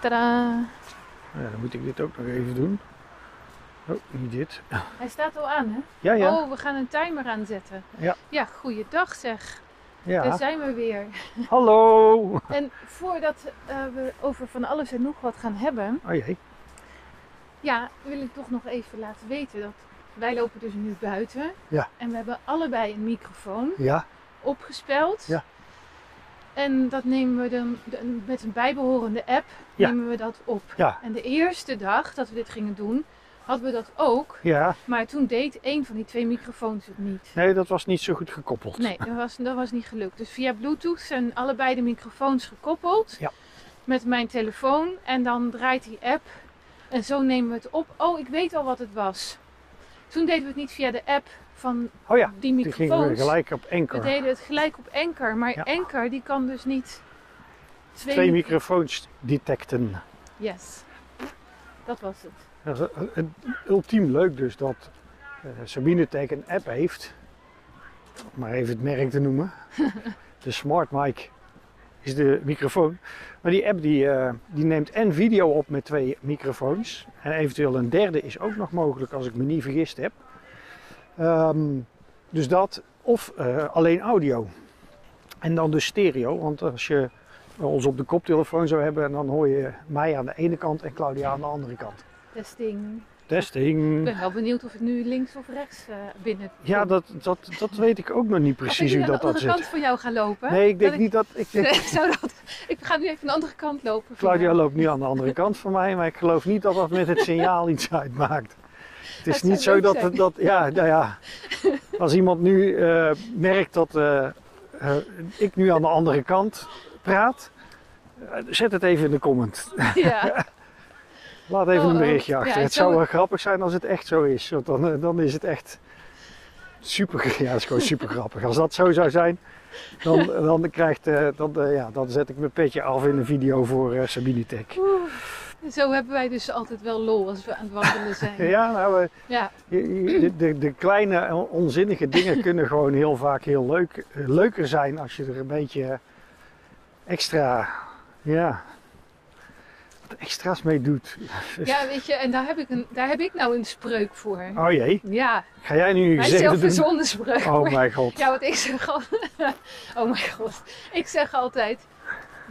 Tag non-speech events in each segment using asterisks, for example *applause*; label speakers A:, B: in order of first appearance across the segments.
A: Tadaa.
B: Nou Ja, dan moet ik dit ook nog even doen. Oh, niet dit.
A: Hij staat al aan, hè?
B: Ja, ja.
A: Oh, we gaan een timer aanzetten.
B: Ja.
A: Ja, goeiedag zeg. Daar
B: ja.
A: zijn we weer.
B: Hallo!
A: En voordat eh, we over van alles en nog wat gaan hebben,
B: Oh jee.
A: ja, wil ik toch nog even laten weten dat wij lopen dus nu buiten.
B: Ja.
A: En we hebben allebei een microfoon
B: Ja,
A: opgespeld.
B: Ja.
A: En dat nemen we dan dan met een bijbehorende app
B: Ja.
A: nemen we dat op.
B: ja,
A: En de eerste dag dat we dit gingen doen, hadden we dat ook.
B: ja.
A: Maar toen deed één van die twee microfoons het niet.
B: Nee, dat was niet zo goed gekoppeld.
A: Nee, dat was, dat was niet gelukt. Dus via Bluetooth zijn allebei de microfoons gekoppeld
B: Ja.
A: met mijn telefoon. En dan draait die app. En zo nemen we het op. Oh, ik weet al wat het was. Toen deden we het niet via de app van
B: Oh ja,
A: die
B: toen gingen we
A: microfoons.
B: gelijk op
A: we
B: enker.
A: deden het gelijk op Anchor. Maar
B: Ja.
A: Anchor die kan dus niet twee,
B: Twee microfoons detecten.
A: Yes. Dat was het.
B: Dat is, eh, eh, ultiem leuk dus dat eh, Sabine Tech een app heeft. Om maar even het merk te noemen. de Smart Mic is de microfoon. Maar die app die, eh, die neemt en video op met twee microfoons. En eventueel een derde is ook nog mogelijk als ik me niet vergist heb. Ehm, dus dat of eh, alleen audio. En dan dus stereo. Want als je ons op de koptelefoon zou hebben, dan hoor je mij aan de ene kant en Claudia aan de andere kant.
A: Testing. Ik
B: Testing.
A: ben wel benieuwd of het nu links of rechts eh, binnen
B: Ja,
A: komt.
B: dat, dat, dat weet ik ook nog niet
A: Of
B: precies
A: ik nu
B: hoe
A: aan
B: dat,
A: de
B: dat
A: andere kant
B: zit.
A: voor jou gaan lopen.
B: Nee, ik denk
A: Dat ik-
B: niet dat. Ik denk,
A: *laughs* Ik zou dat... Ik ga nu even de andere kant lopen.
B: Claudia loopt nu aan de andere kant van mij, maar ik geloof niet dat dat met het signaal iets uitmaakt. Het is
A: Het zou
B: niet zo
A: leuk
B: dat,
A: zijn.
B: het- dat. Ja, nou
A: *laughs*
B: ja. Als iemand nu eh, merkt dat eh, eh, ik nu aan de andere kant praat, eh, zet het even in de comment.
A: *laughs* Ja,
B: Laat even
A: Oh,
B: een
A: oh.
B: berichtje
A: Ja,
B: achter.
A: ik
B: het
A: zou-
B: zou wel grappig zijn als het echt zo is. Want dan, eh, dan is het echt super. *laughs* Ja, dat
A: *laughs*
B: is gewoon super grappig. Als dat zo zou zijn, dan, dan, krijgt, eh, dan, eh, ja, dan zet ik mijn petje af in een video voor eh Sabine Tech.
A: Oeh. zo hebben wij dus altijd wel lol als we aan het wandelen zijn.
B: Ja, nou, eh,
A: Ja,
B: je- je- de, de, de kleine on- onzinnige
A: *laughs*
B: dingen kunnen gewoon heel vaak heel leuk, eh, leuker zijn als je er een beetje eh, extra, ja, wat extra's mee doet.
A: Ja, weet je, en daar heb, ik een, daar heb ik nou een spreuk voor.
B: Dus- Oh jee,
A: Ja,
B: ga jij nu je
A: mijn
B: gezeten doen?
A: zelfverzonnen spreuk.
B: Oh
A: hoor.
B: mijn god.
A: Ja, want ik zeg al... *laughs* Oh mijn god. Ik zeg altijd...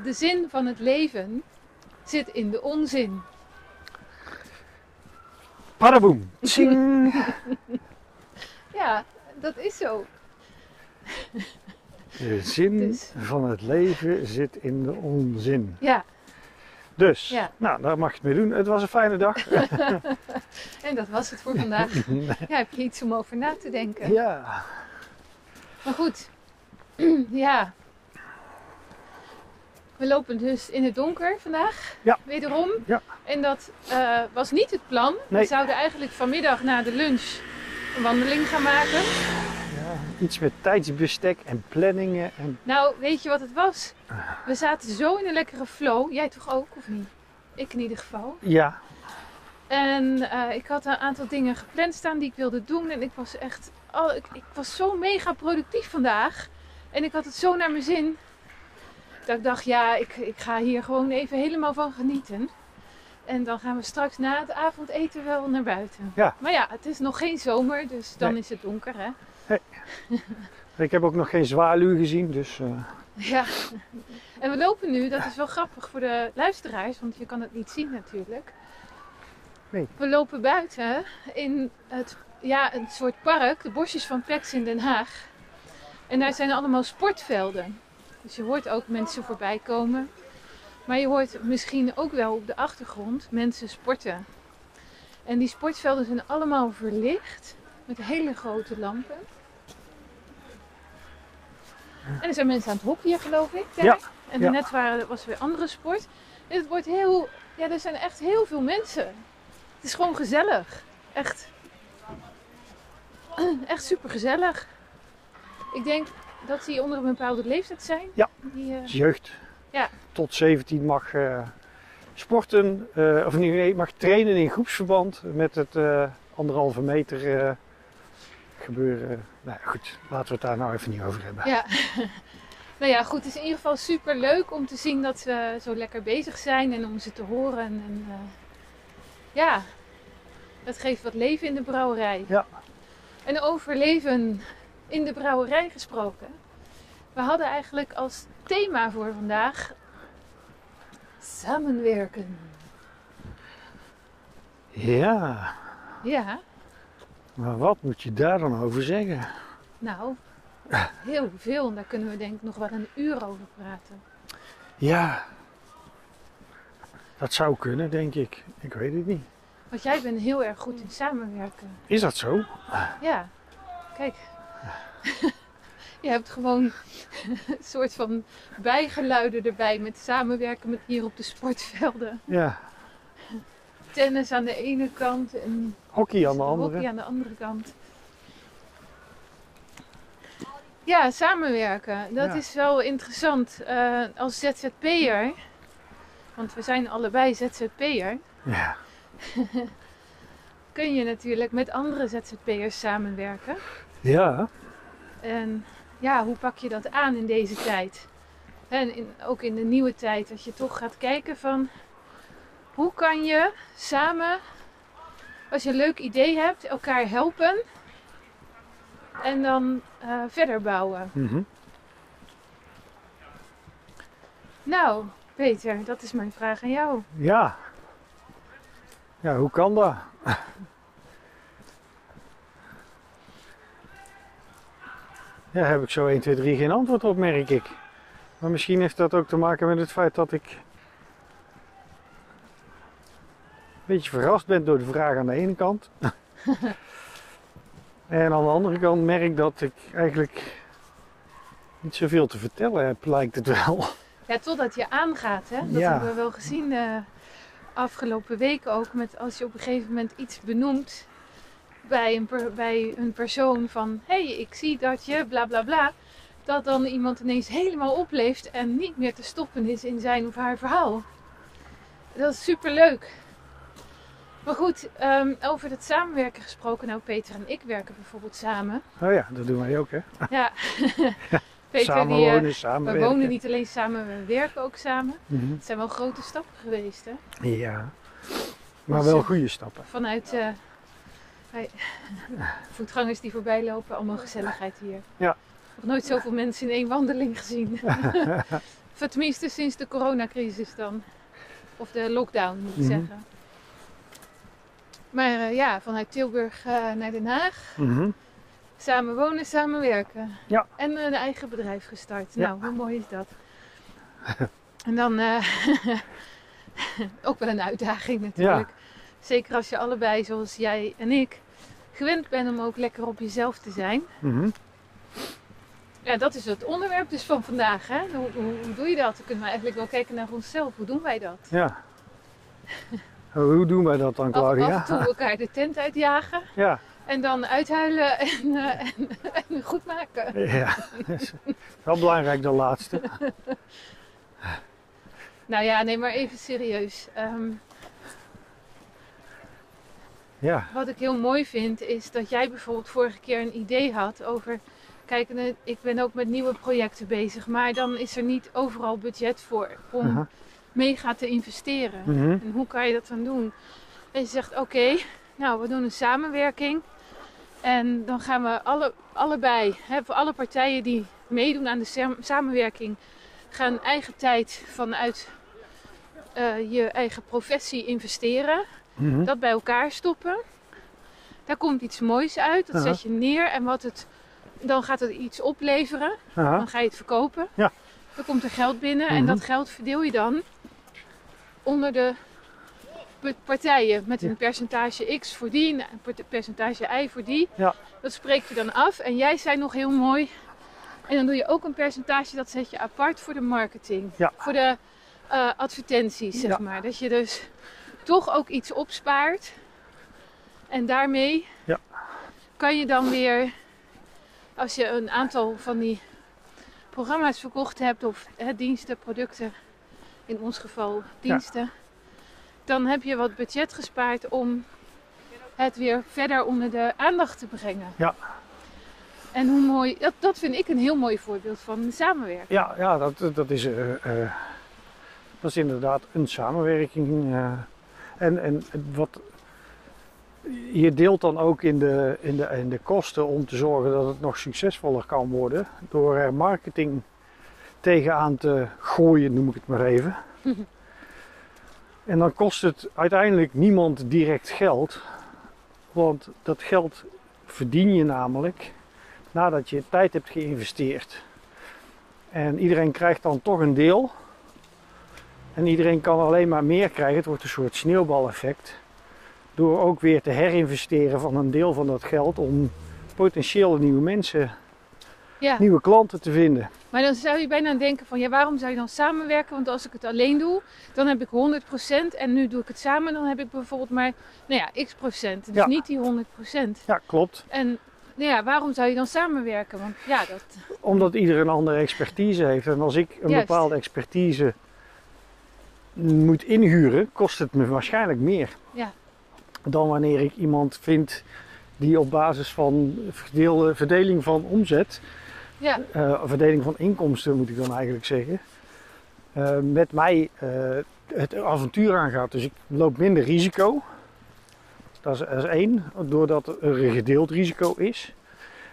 A: De zin van het leven zit in de onzin.
B: Paraboom. Tsing.
A: Ja, dat is zo.
B: De zin
A: Dus.
B: van het leven zit in de onzin.
A: Ja,
B: Dus,
A: Ja.
B: nou, daar mag je het mee doen. Het was een fijne dag.
A: en dat was het
B: *laughs*
A: voor vandaag. Ja, heb je iets om over na te denken.
B: ja.
A: Maar goed, *clears throat* ja. We lopen dus in het donker vandaag.
B: Ja.
A: Wederom.
B: Ja.
A: En dat eh, was niet het plan.
B: Nee.
A: We zouden eigenlijk vanmiddag na de lunch een wandeling gaan maken.
B: ja. Iets met tijdsbestek en planningen. En...
A: Nou, weet je wat het was? We zaten zo in een lekkere flow. Jij toch ook, of niet? Ik in ieder geval.
B: Ja,
A: En eh, ik had een aantal dingen gepland staan die ik wilde doen. En ik was echt. Oh, ik, ik was zo mega productief vandaag. En ik had het zo naar mijn zin. Dat ik dacht, ja, ik, ik ga hier gewoon even helemaal van genieten. En dan gaan we straks na het avondeten wel naar buiten.
B: Ja.
A: Maar ja, het is nog geen zomer, dus dan
B: Nee.
A: is het donker, hè?
B: ik heb ook nog geen zwaluw gezien, dus eh,
A: Ja. En we lopen nu, dat is wel grappig voor de luisteraars, want je kan het niet zien natuurlijk.
B: Nee.
A: We lopen buiten in het, ja, een soort park, de bosjes van Plex in Den Haag. En daar zijn allemaal sportvelden. Dus je hoort ook mensen voorbij komen. Maar je hoort misschien ook wel op de achtergrond mensen sporten. En die sportvelden zijn allemaal verlicht met hele grote lampen. En er zijn mensen aan het hockeyen, geloof ik. Daar.
B: Ja,
A: En
B: ja.
A: net waren, was er weer andere sport. En het wordt heel. Ja, er zijn echt heel veel mensen. Het is gewoon gezellig. Echt. *clears throat* Echt super gezellig. Ik denk dat die onder een bepaalde leeftijd zijn.
B: Ja.
A: Die, eh,
B: het is jeugd.
A: Ja.
B: Tot 17 mag eh, sporten, eh, of nee, nee, mag trainen in groepsverband met het eh, anderhalve meter eh, gebeuren. Nou goed, laten we het daar nou even niet over hebben.
A: Ja. *laughs* Nou ja, goed, het is in ieder geval super leuk om te zien dat ze zo lekker bezig zijn en om ze te horen. En, eh, ja, dat geeft wat leven in de brouwerij.
B: Ja.
A: En over leven in de brouwerij gesproken. We hadden eigenlijk als thema voor vandaag samenwerken.
B: Ja,
A: Ja,
B: maar wat moet je daar dan over zeggen?
A: nou, heel veel. En daar kunnen we denk ik nog wel een uur over praten.
B: Ja, dat zou kunnen, denk ik. Ik weet het niet.
A: Want jij bent heel erg goed in samenwerken.
B: Is dat zo?
A: Ja, kijk. *laughs* Je hebt gewoon een soort van bijgeluiden erbij met samenwerken met hier op de sportvelden.
B: Ja,
A: Tennis aan de ene kant en
B: hockey aan de
A: hockey
B: andere.
A: aan de andere kant. Ja, samenwerken. Dat
B: Ja.
A: is wel interessant eh, als ZZP'er. Want we zijn allebei ZZP'er.
B: Ja,
A: Kun je natuurlijk met andere ZZP'ers samenwerken.
B: ja.
A: En ja, hoe pak je dat aan in deze tijd? En in, ook in de nieuwe tijd, dat je toch gaat kijken van hoe kan je samen, als je een leuk idee hebt, elkaar helpen en dan eh, verder bouwen.
B: mhm.
A: Nou, Peter, dat is mijn vraag aan jou.
B: ja. Ja, hoe kan dat? Ja, heb ik zo 1, 2, 3 geen antwoord op, merk ik. Maar misschien heeft dat ook te maken met het feit dat ik... een beetje verrast ben door de vraag aan de ene kant. *laughs* en aan de andere kant merk dat ik eigenlijk... niet zoveel te vertellen heb, lijkt het wel.
A: Ja, totdat je aangaat, hè? Dat
B: Ja.
A: hebben we wel gezien eh afgelopen weken ook. Met als je op een gegeven moment iets benoemt bij een, per- bij een persoon van... Hé, hey, ik zie dat je bla bla bla. Dat dan iemand ineens helemaal opleeft en niet meer te stoppen is in zijn of haar verhaal. Dat is superleuk. Maar goed, ehm, over dat samenwerken gesproken. Nou, Peter en ik werken bijvoorbeeld samen.
B: *laughs* Oh ja, dat doen wij ook, hè?
A: Ja, *laughs* Peter
B: samen
A: die... eh,
B: wonen, samen
A: we wonen niet alleen samen, we werken ook samen. Het zijn wel grote stappen geweest, hè?
B: Mhm. Ja. Maar wel goede stappen.
A: Vanuit eh, bij *laughs* voetgangers die voorbij lopen, allemaal gezelligheid hier.
B: Ja.
A: Nog nooit zoveel mensen in één wandeling
B: *laughs*
A: gezien. of tenminste sinds de coronacrisis dan. Of de lockdown moet ik
B: Mhm.
A: zeggen. Maar eh, ja, vanuit Tilburg eh, naar Den Haag.
B: Mhm.
A: Samen wonen, samen werken.
B: Ja.
A: En een eigen bedrijf gestart.
B: Ja.
A: Nou, hoe mooi is dat? *laughs* en dan eh, *laughs* ook wel een uitdaging natuurlijk. Zeker als je allebei, zoals jij en ik, gewend bent om ook lekker op jezelf te zijn.
B: Mhm.
A: Ja, dat is het onderwerp dus van vandaag. Hè? Hoe, hoe, hoe doe je dat? Dan kunnen we eigenlijk wel kijken naar onszelf. Hoe doen wij dat?
B: Ja. *laughs* Hoe doen wij dat dan,
A: Af, af
B: Claudia?
A: en toe elkaar de tent uitjagen
B: Ja.
A: en dan uithuilen en, eh, *laughs* en, en goed maken.
B: ja. *laughs* Dat is wel belangrijk, de laatste.
A: Nou ja, nee, maar even serieus. Ehm,
B: Ja.
A: Wat ik heel mooi vind is dat jij bijvoorbeeld vorige keer een idee had over. Kijk, eh, ik ben ook met nieuwe projecten bezig, maar dan is er niet overal budget voor om
B: Aha.
A: mega te investeren.
B: Mhm.
A: En hoe kan je dat dan doen? En je zegt: Oké, nou we doen een samenwerking. En dan gaan we alle, allebei, hè, voor alle partijen die meedoen aan de sam- samenwerking, gaan eigen tijd vanuit eh, je eigen professie investeren
B: Mhm.
A: dat bij elkaar stoppen. Daar komt iets moois uit, dat
B: Ja.
A: zet je neer en wat het, dan gaat het iets opleveren.
B: Aha.
A: Dan ga je het verkopen.
B: Ja.
A: Dan komt er geld binnen en
B: Mhm.
A: dat geld verdeel je dan onder de p- partijen met
B: Ja.
A: een percentage X voor die, een per- percentage Y voor die.
B: Ja.
A: Dat spreek je dan af en jij zei nog heel mooi. En dan doe je ook een percentage dat zet je apart voor de marketing,
B: Ja.
A: voor de eh, advertenties zeg
B: Ja.
A: maar. Dat je dus toch ook iets opspaart. En daarmee
B: Ja.
A: kan je dan weer, als je een aantal van die programma's verkocht hebt, of hè, diensten, producten, in ons geval diensten, dan heb je wat budget gespaard om het weer verder onder de aandacht te brengen.
B: Ja.
A: En hoe mooi, dat, dat vind ik een heel mooi voorbeeld van samenwerking.
B: Ja, ja dat, dat, is, eh, eh, dat is inderdaad een samenwerking. eh. en, en wat, je deelt dan ook in de, in, de, in de kosten om te zorgen dat het nog succesvoller kan worden. Door er marketing tegenaan te gooien, noem ik het maar even. en dan kost het uiteindelijk niemand direct geld. Want dat geld verdien je namelijk nadat je tijd hebt geïnvesteerd. En iedereen krijgt dan toch een deel. En iedereen kan alleen maar meer krijgen. Het wordt een soort sneeuwbaleffect. Door ook weer te herinvesteren van een deel van dat geld om potentieel nieuwe mensen,
A: Ja,
B: nieuwe klanten te vinden.
A: maar dan zou je bijna denken van ja, waarom zou je dan samenwerken? Want als ik het alleen doe, dan heb ik 100% en nu doe ik het samen, dan heb ik bijvoorbeeld maar, nou ja, x procent. Dus
B: Ja.
A: niet die 100%.
B: Ja, klopt.
A: En nou ja, waarom zou je dan samenwerken? Want ja, dat,
B: Omdat ieder een andere expertise heeft. En als ik een
A: Juist.
B: bepaalde expertise moet inhuren, kost het me waarschijnlijk meer.
A: Ja.
B: Dan wanneer ik iemand vind die op basis van verdeelde, verdeling van omzet
A: ja,
B: eh, verdeling van inkomsten moet ik dan eigenlijk zeggen, eh, met mij eh, het avontuur aangaat. Dus ik loop minder risico. Dat is, dat is één, doordat er een gedeeld risico is.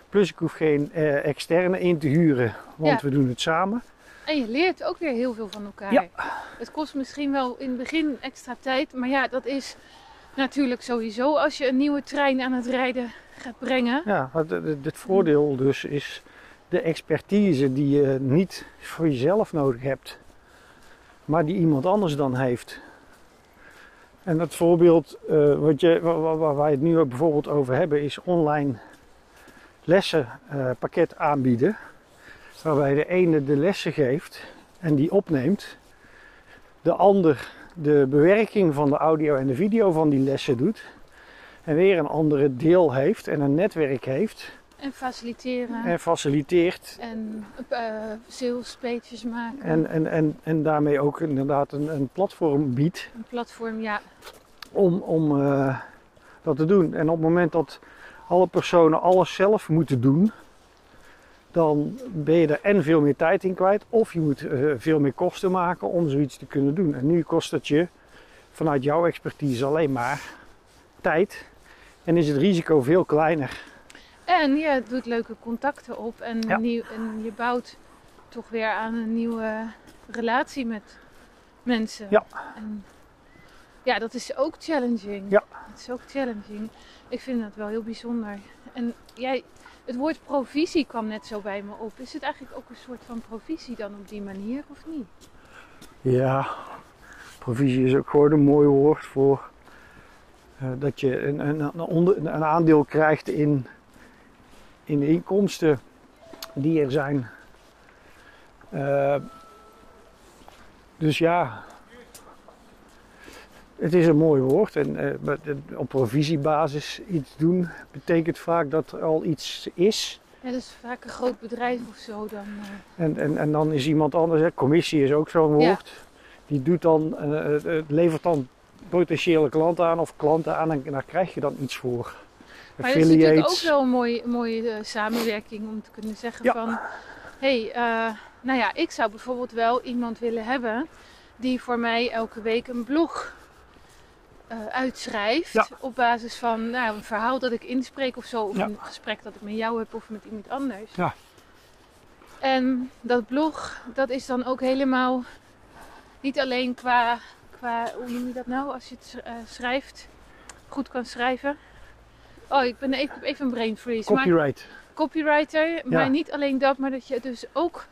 B: Plus ik hoef geen eh, externe in te huren, want
A: Ja.
B: we doen het samen.
A: en je leert ook weer heel veel van elkaar.
B: Ja.
A: Het kost misschien wel in het begin extra tijd, maar ja, dat is natuurlijk sowieso als je een nieuwe trein aan het rijden gaat brengen.
B: Ja, want het- het het voordeel dus is de expertise die je niet voor jezelf nodig hebt, maar die iemand anders dan heeft. En dat voorbeeld eh, wat je, wa- wa- waar, wij het nu ook bijvoorbeeld over hebben, is online lessenpakket pakket aanbieden. Waarbij de ene de lessen geeft en die opneemt, de ander de bewerking van de audio en de video van die lessen doet. En weer een andere deel heeft en een netwerk heeft
A: En faciliteren.
B: en faciliteert.
A: En eh sales pages maken.
B: En, en, en, en daarmee ook inderdaad een, een platform biedt
A: Een platform, ja.
B: om, om eh, dat te doen. En op het moment dat alle personen alles zelf moeten doen, dan ben je er en veel meer tijd in kwijt, of je moet eh, veel meer kosten maken om zoiets te kunnen doen. En nu kost het je vanuit jouw expertise alleen maar tijd en is het risico veel kleiner.
A: En je doet leuke contacten op. En,
B: Ja.
A: nieuw, en je bouwt toch weer aan een nieuwe relatie met mensen.
B: Ja.
A: En, ja, dat is ook challenging.
B: Ja.
A: Dat is ook challenging. Ik vind dat wel heel bijzonder. En jij, het woord provisie kwam net zo bij me op. Is het eigenlijk ook een soort van provisie dan op die manier of niet?
B: Ja, provisie is ook gewoon een mooi woord voor eh, dat je een, een, een, onder- een aandeel krijgt in, in de inkomsten die er zijn. Eh, dus ja, het is een mooi woord en eh, maar het- op provisiebasis iets doen betekent vaak dat er al iets is.
A: Ja, dat is vaak een groot bedrijf of zo dan. eh,
B: En, en, en dan is iemand anders, hè, commissie is ook zo'n
A: Ja.
B: woord, die doet dan, eh, eh, eh, levert dan potentiële klanten aan of klanten aan en daar krijg je dan iets voor.
A: Maar dat is natuurlijk ook
B: Affiliates.
A: wel een mooie, mooie eh, samenwerking om te kunnen zeggen
B: Ja.
A: van... hey, eh, nou ja, ik zou bijvoorbeeld wel iemand willen hebben die voor mij elke week een blog eh, uitschrijft.
B: Ja.
A: Op basis van nou, een verhaal dat ik inspreek of zo. Of
B: Ja.
A: een gesprek dat ik met jou heb of met iemand anders.
B: Ja.
A: En dat blog, dat is dan ook helemaal niet alleen qua, qua hoe noem je dat nou, als je het eh, schrijft, goed kan schrijven. Oh, ik ben even, even een brain freeze. maar-
B: Copyright.
A: copywriter. Maar niet alleen dat, maar dat je het dus ook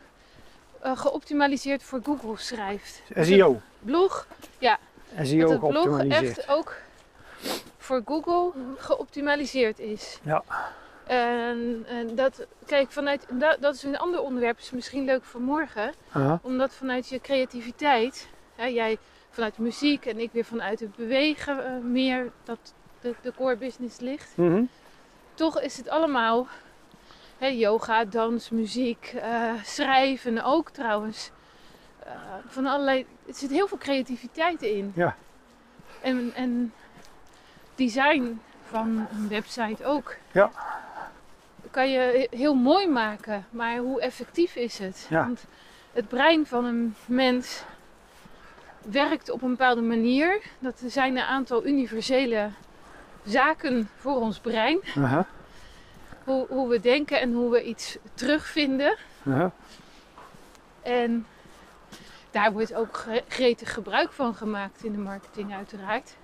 A: eh, geoptimaliseerd voor Google schrijft. Dus het
B: SEO.
A: Blog, ja.
B: SEO
A: Dat het blog
B: E geoptimaliseerd.
A: echt ook voor Google geoptimaliseerd is.
B: Ja.
A: En, en dat, kijk, vanuit, dat, dat is een ander onderwerp, is misschien leuk voor morgen.
B: Aha.
A: Omdat vanuit je creativiteit, hè, jij vanuit de muziek en ik weer vanuit het bewegen eh, meer, dat de, de core business ligt
B: Mhm.
A: toch is het allemaal hè, yoga, dans, muziek, eh, schrijven ook trouwens. Eh, van allerlei, er zit heel veel creativiteit in.
B: Ja.
A: En, en design van een website ook.
B: Ja.
A: kan je heel mooi maken, maar hoe effectief is het?
B: Ja.
A: Want het brein van een mens werkt op een bepaalde manier. Dat er zijn een aantal universele zaken voor ons brein.
B: Aha,
A: Hoe, hoe we denken en hoe we iets terugvinden.
B: aha.
A: En daar wordt ook gre- gretig gebruik van gemaakt in de marketing uiteraard.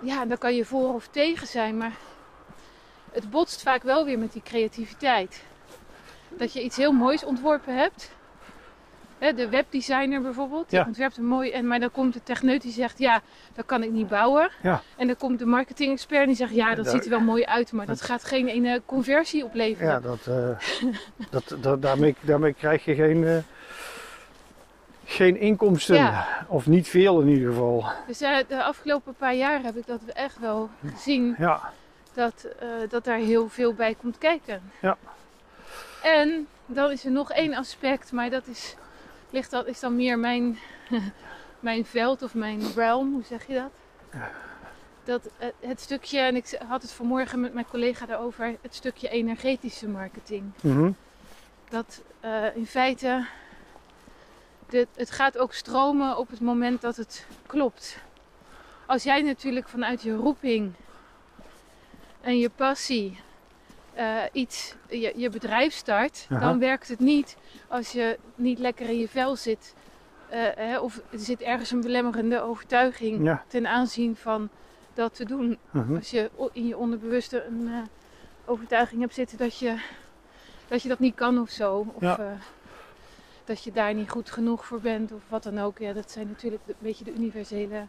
A: Ja, dan kan je voor of tegen zijn, maar het botst vaak wel weer met die creativiteit. Dat je iets heel moois ontworpen hebt. Hè, de webdesigner bijvoorbeeld, die
B: Ja.
A: ontwerpt een mooi... En, maar dan komt de techneut die zegt, ja, dat kan ik niet bouwen.
B: Ja.
A: En dan komt de marketing-expert die zegt, ja, dat
B: Daar-
A: ziet er wel mooi uit, maar dat
B: dat-
A: gaat geen ene conversie opleveren.
B: Ja,
A: *laughs*
B: dat, eh, dat, dat, daarmee, daarmee krijg je geen, eh, geen inkomsten.
A: Ja.
B: Of niet veel in ieder geval.
A: Dus eh, de afgelopen paar jaar heb ik dat echt wel gezien
B: Ja,
A: dat, eh, dat daar heel veel bij komt kijken.
B: Ja.
A: En dan is er nog één aspect, maar dat is, ligt dat, is dan meer mijn, *laughs* mijn veld of mijn realm, hoe zeg je dat? Dat eh, het stukje, en ik had het vanmorgen met mijn collega daarover, het stukje energetische marketing.
B: mhm.
A: Dat eh, in feite, de, het gaat ook stromen op het moment dat het klopt. Als jij natuurlijk vanuit je roeping en je passie eh, iets, je, je bedrijf start,
B: Aha.
A: dan werkt het niet als je niet lekker in je vel zit. eh, hè, of er zit ergens een belemmerende overtuiging
B: ja.
A: ten aanzien van dat te doen.
B: mhm.
A: Als je o- in je onderbewuste een eh, overtuiging hebt zitten dat je dat, je dat niet kan of zo. Of
B: Ja.
A: eh, dat je daar niet goed genoeg voor bent of wat dan ook. Ja, dat zijn natuurlijk de- een beetje de universele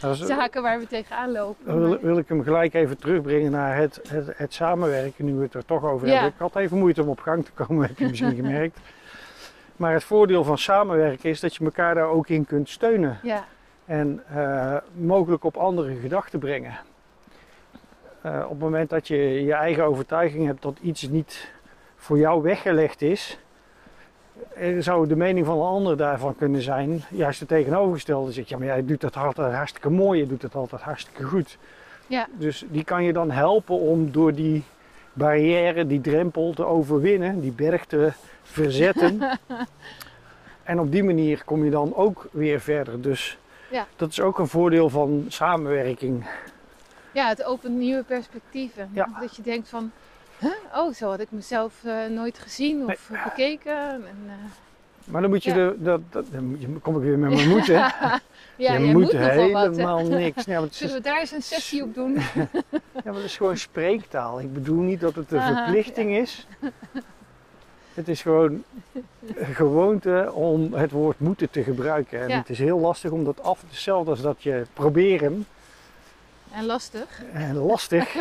B: Dat is-
A: zaken waar we tegenaan lopen.
B: Dan Oh, wil,
A: Maar-
B: wil ik hem gelijk even terugbrengen naar het, het, het samenwerken, nu we het er toch over
A: Ja.
B: hebben. Ik had even moeite om op gang te komen, *laughs* heb je misschien gemerkt. Maar het voordeel van samenwerken is dat je elkaar daar ook in kunt steunen
A: ja,
B: en eh, mogelijk op andere gedachten brengen. Eh, op het moment dat je je eigen overtuiging hebt dat iets niet voor jou weggelegd is, eh, zou de mening van een ander daarvan kunnen zijn. Juist het tegenovergestelde zit, ja, maar jij doet dat altijd hartstikke mooi, je doet dat altijd hartstikke goed.
A: Ja.
B: Dus die kan je dan helpen om door die barrière, die drempel te overwinnen, die berg te verzetten. en op die manier kom je dan ook weer verder. Dus
A: Ja.
B: dat is ook een voordeel van samenwerking.
A: ja, het opent nieuwe perspectieven.
B: Ja.
A: Dat je denkt van, huh? oh, zo had ik mezelf eh, nooit gezien of eh, bekeken. En, eh,
B: Maar dan moet je
A: Ja.
B: de, dat, dat, dan kom ik weer met
A: *laughs*
B: mijn moed, hè?
A: ja,
B: je
A: jij
B: moet,
A: nogal wat, hè?
B: helemaal niks. Ja, maar het
A: *laughs*
B: is,
A: Zullen we daar eens een sessie op
B: *laughs*
A: doen?
B: ja, maar het is gewoon spreektaal. Ik bedoel niet dat het een
A: Aha,
B: verplichting is. Het is gewoon een gewoonte om het woord moeten te gebruiken. En
A: Ja.
B: het is heel lastig om dat af, hetzelfde als dat je proberen,
A: En lastig.
B: en
A: *laughs*
B: lastig,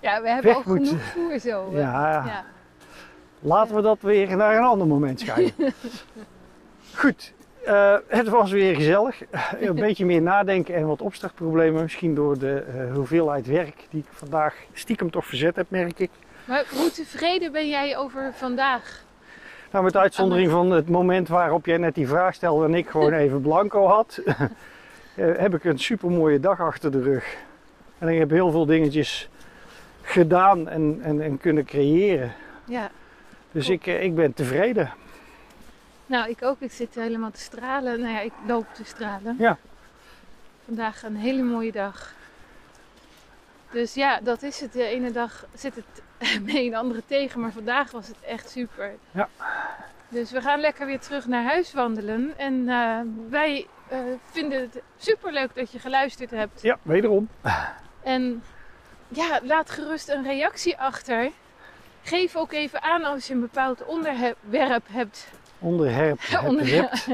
A: Ja, we hebben
B: Weg
A: ook
B: moet-
A: genoeg voer zo. hè?
B: ja,
A: ja.
B: Laten we dat weer naar een ander moment schuiven. Goed, eh, het was weer gezellig. Eh, een beetje meer nadenken en wat opstartproblemen. Misschien door de eh, hoeveelheid werk die ik vandaag stiekem toch verzet heb, merk ik.
A: Maar hoe tevreden ben jij over vandaag?
B: Nou, met uitzondering van het moment waarop jij net die vraag stelde en ik gewoon even blanco had, *laughs* eh, heb ik een supermooie dag achter de rug. En ik heb heel veel dingetjes gedaan en, en, en kunnen creëren.
A: Ja,
B: Dus
A: Cool.
B: ik, eh, ik ben tevreden.
A: nou ik ook. Ik zit helemaal te stralen. Nou ja, ik loop te stralen.
B: Ja.
A: Vandaag een hele mooie dag. Dus ja, dat is het. De ene dag zit het *laughs* mee, de andere tegen. Maar vandaag was het echt super.
B: Ja.
A: Dus we gaan lekker weer terug naar huis wandelen. En eh, wij eh, vinden het superleuk dat je geluisterd hebt.
B: Ja, wederom.
A: En ja, laat gerust een reactie achter. Geef ook even aan als je een bepaald onderwerp hebt.
B: Onderherp.
A: Onder-
B: herpt.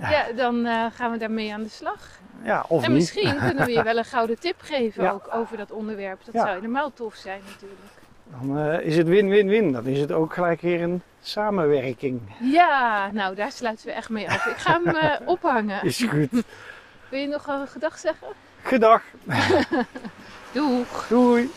A: Ja, dan eh, gaan we daarmee aan de slag.
B: Ja, of
A: en
B: niet. *laughs*
A: misschien kunnen we je wel een gouden tip geven
B: Ja.
A: ook over dat onderwerp. Dat
B: Ja.
A: zou helemaal tof zijn natuurlijk.
B: Dan eh, is het win-win-win. Dan is het ook gelijk weer een samenwerking.
A: Ja, nou daar sluiten we echt mee af. Ik ga hem
B: *laughs*
A: eh, ophangen.
B: Is goed.
A: Wil je nog een gedag zeggen?
B: Gedag.
A: Doeg!
B: Doei.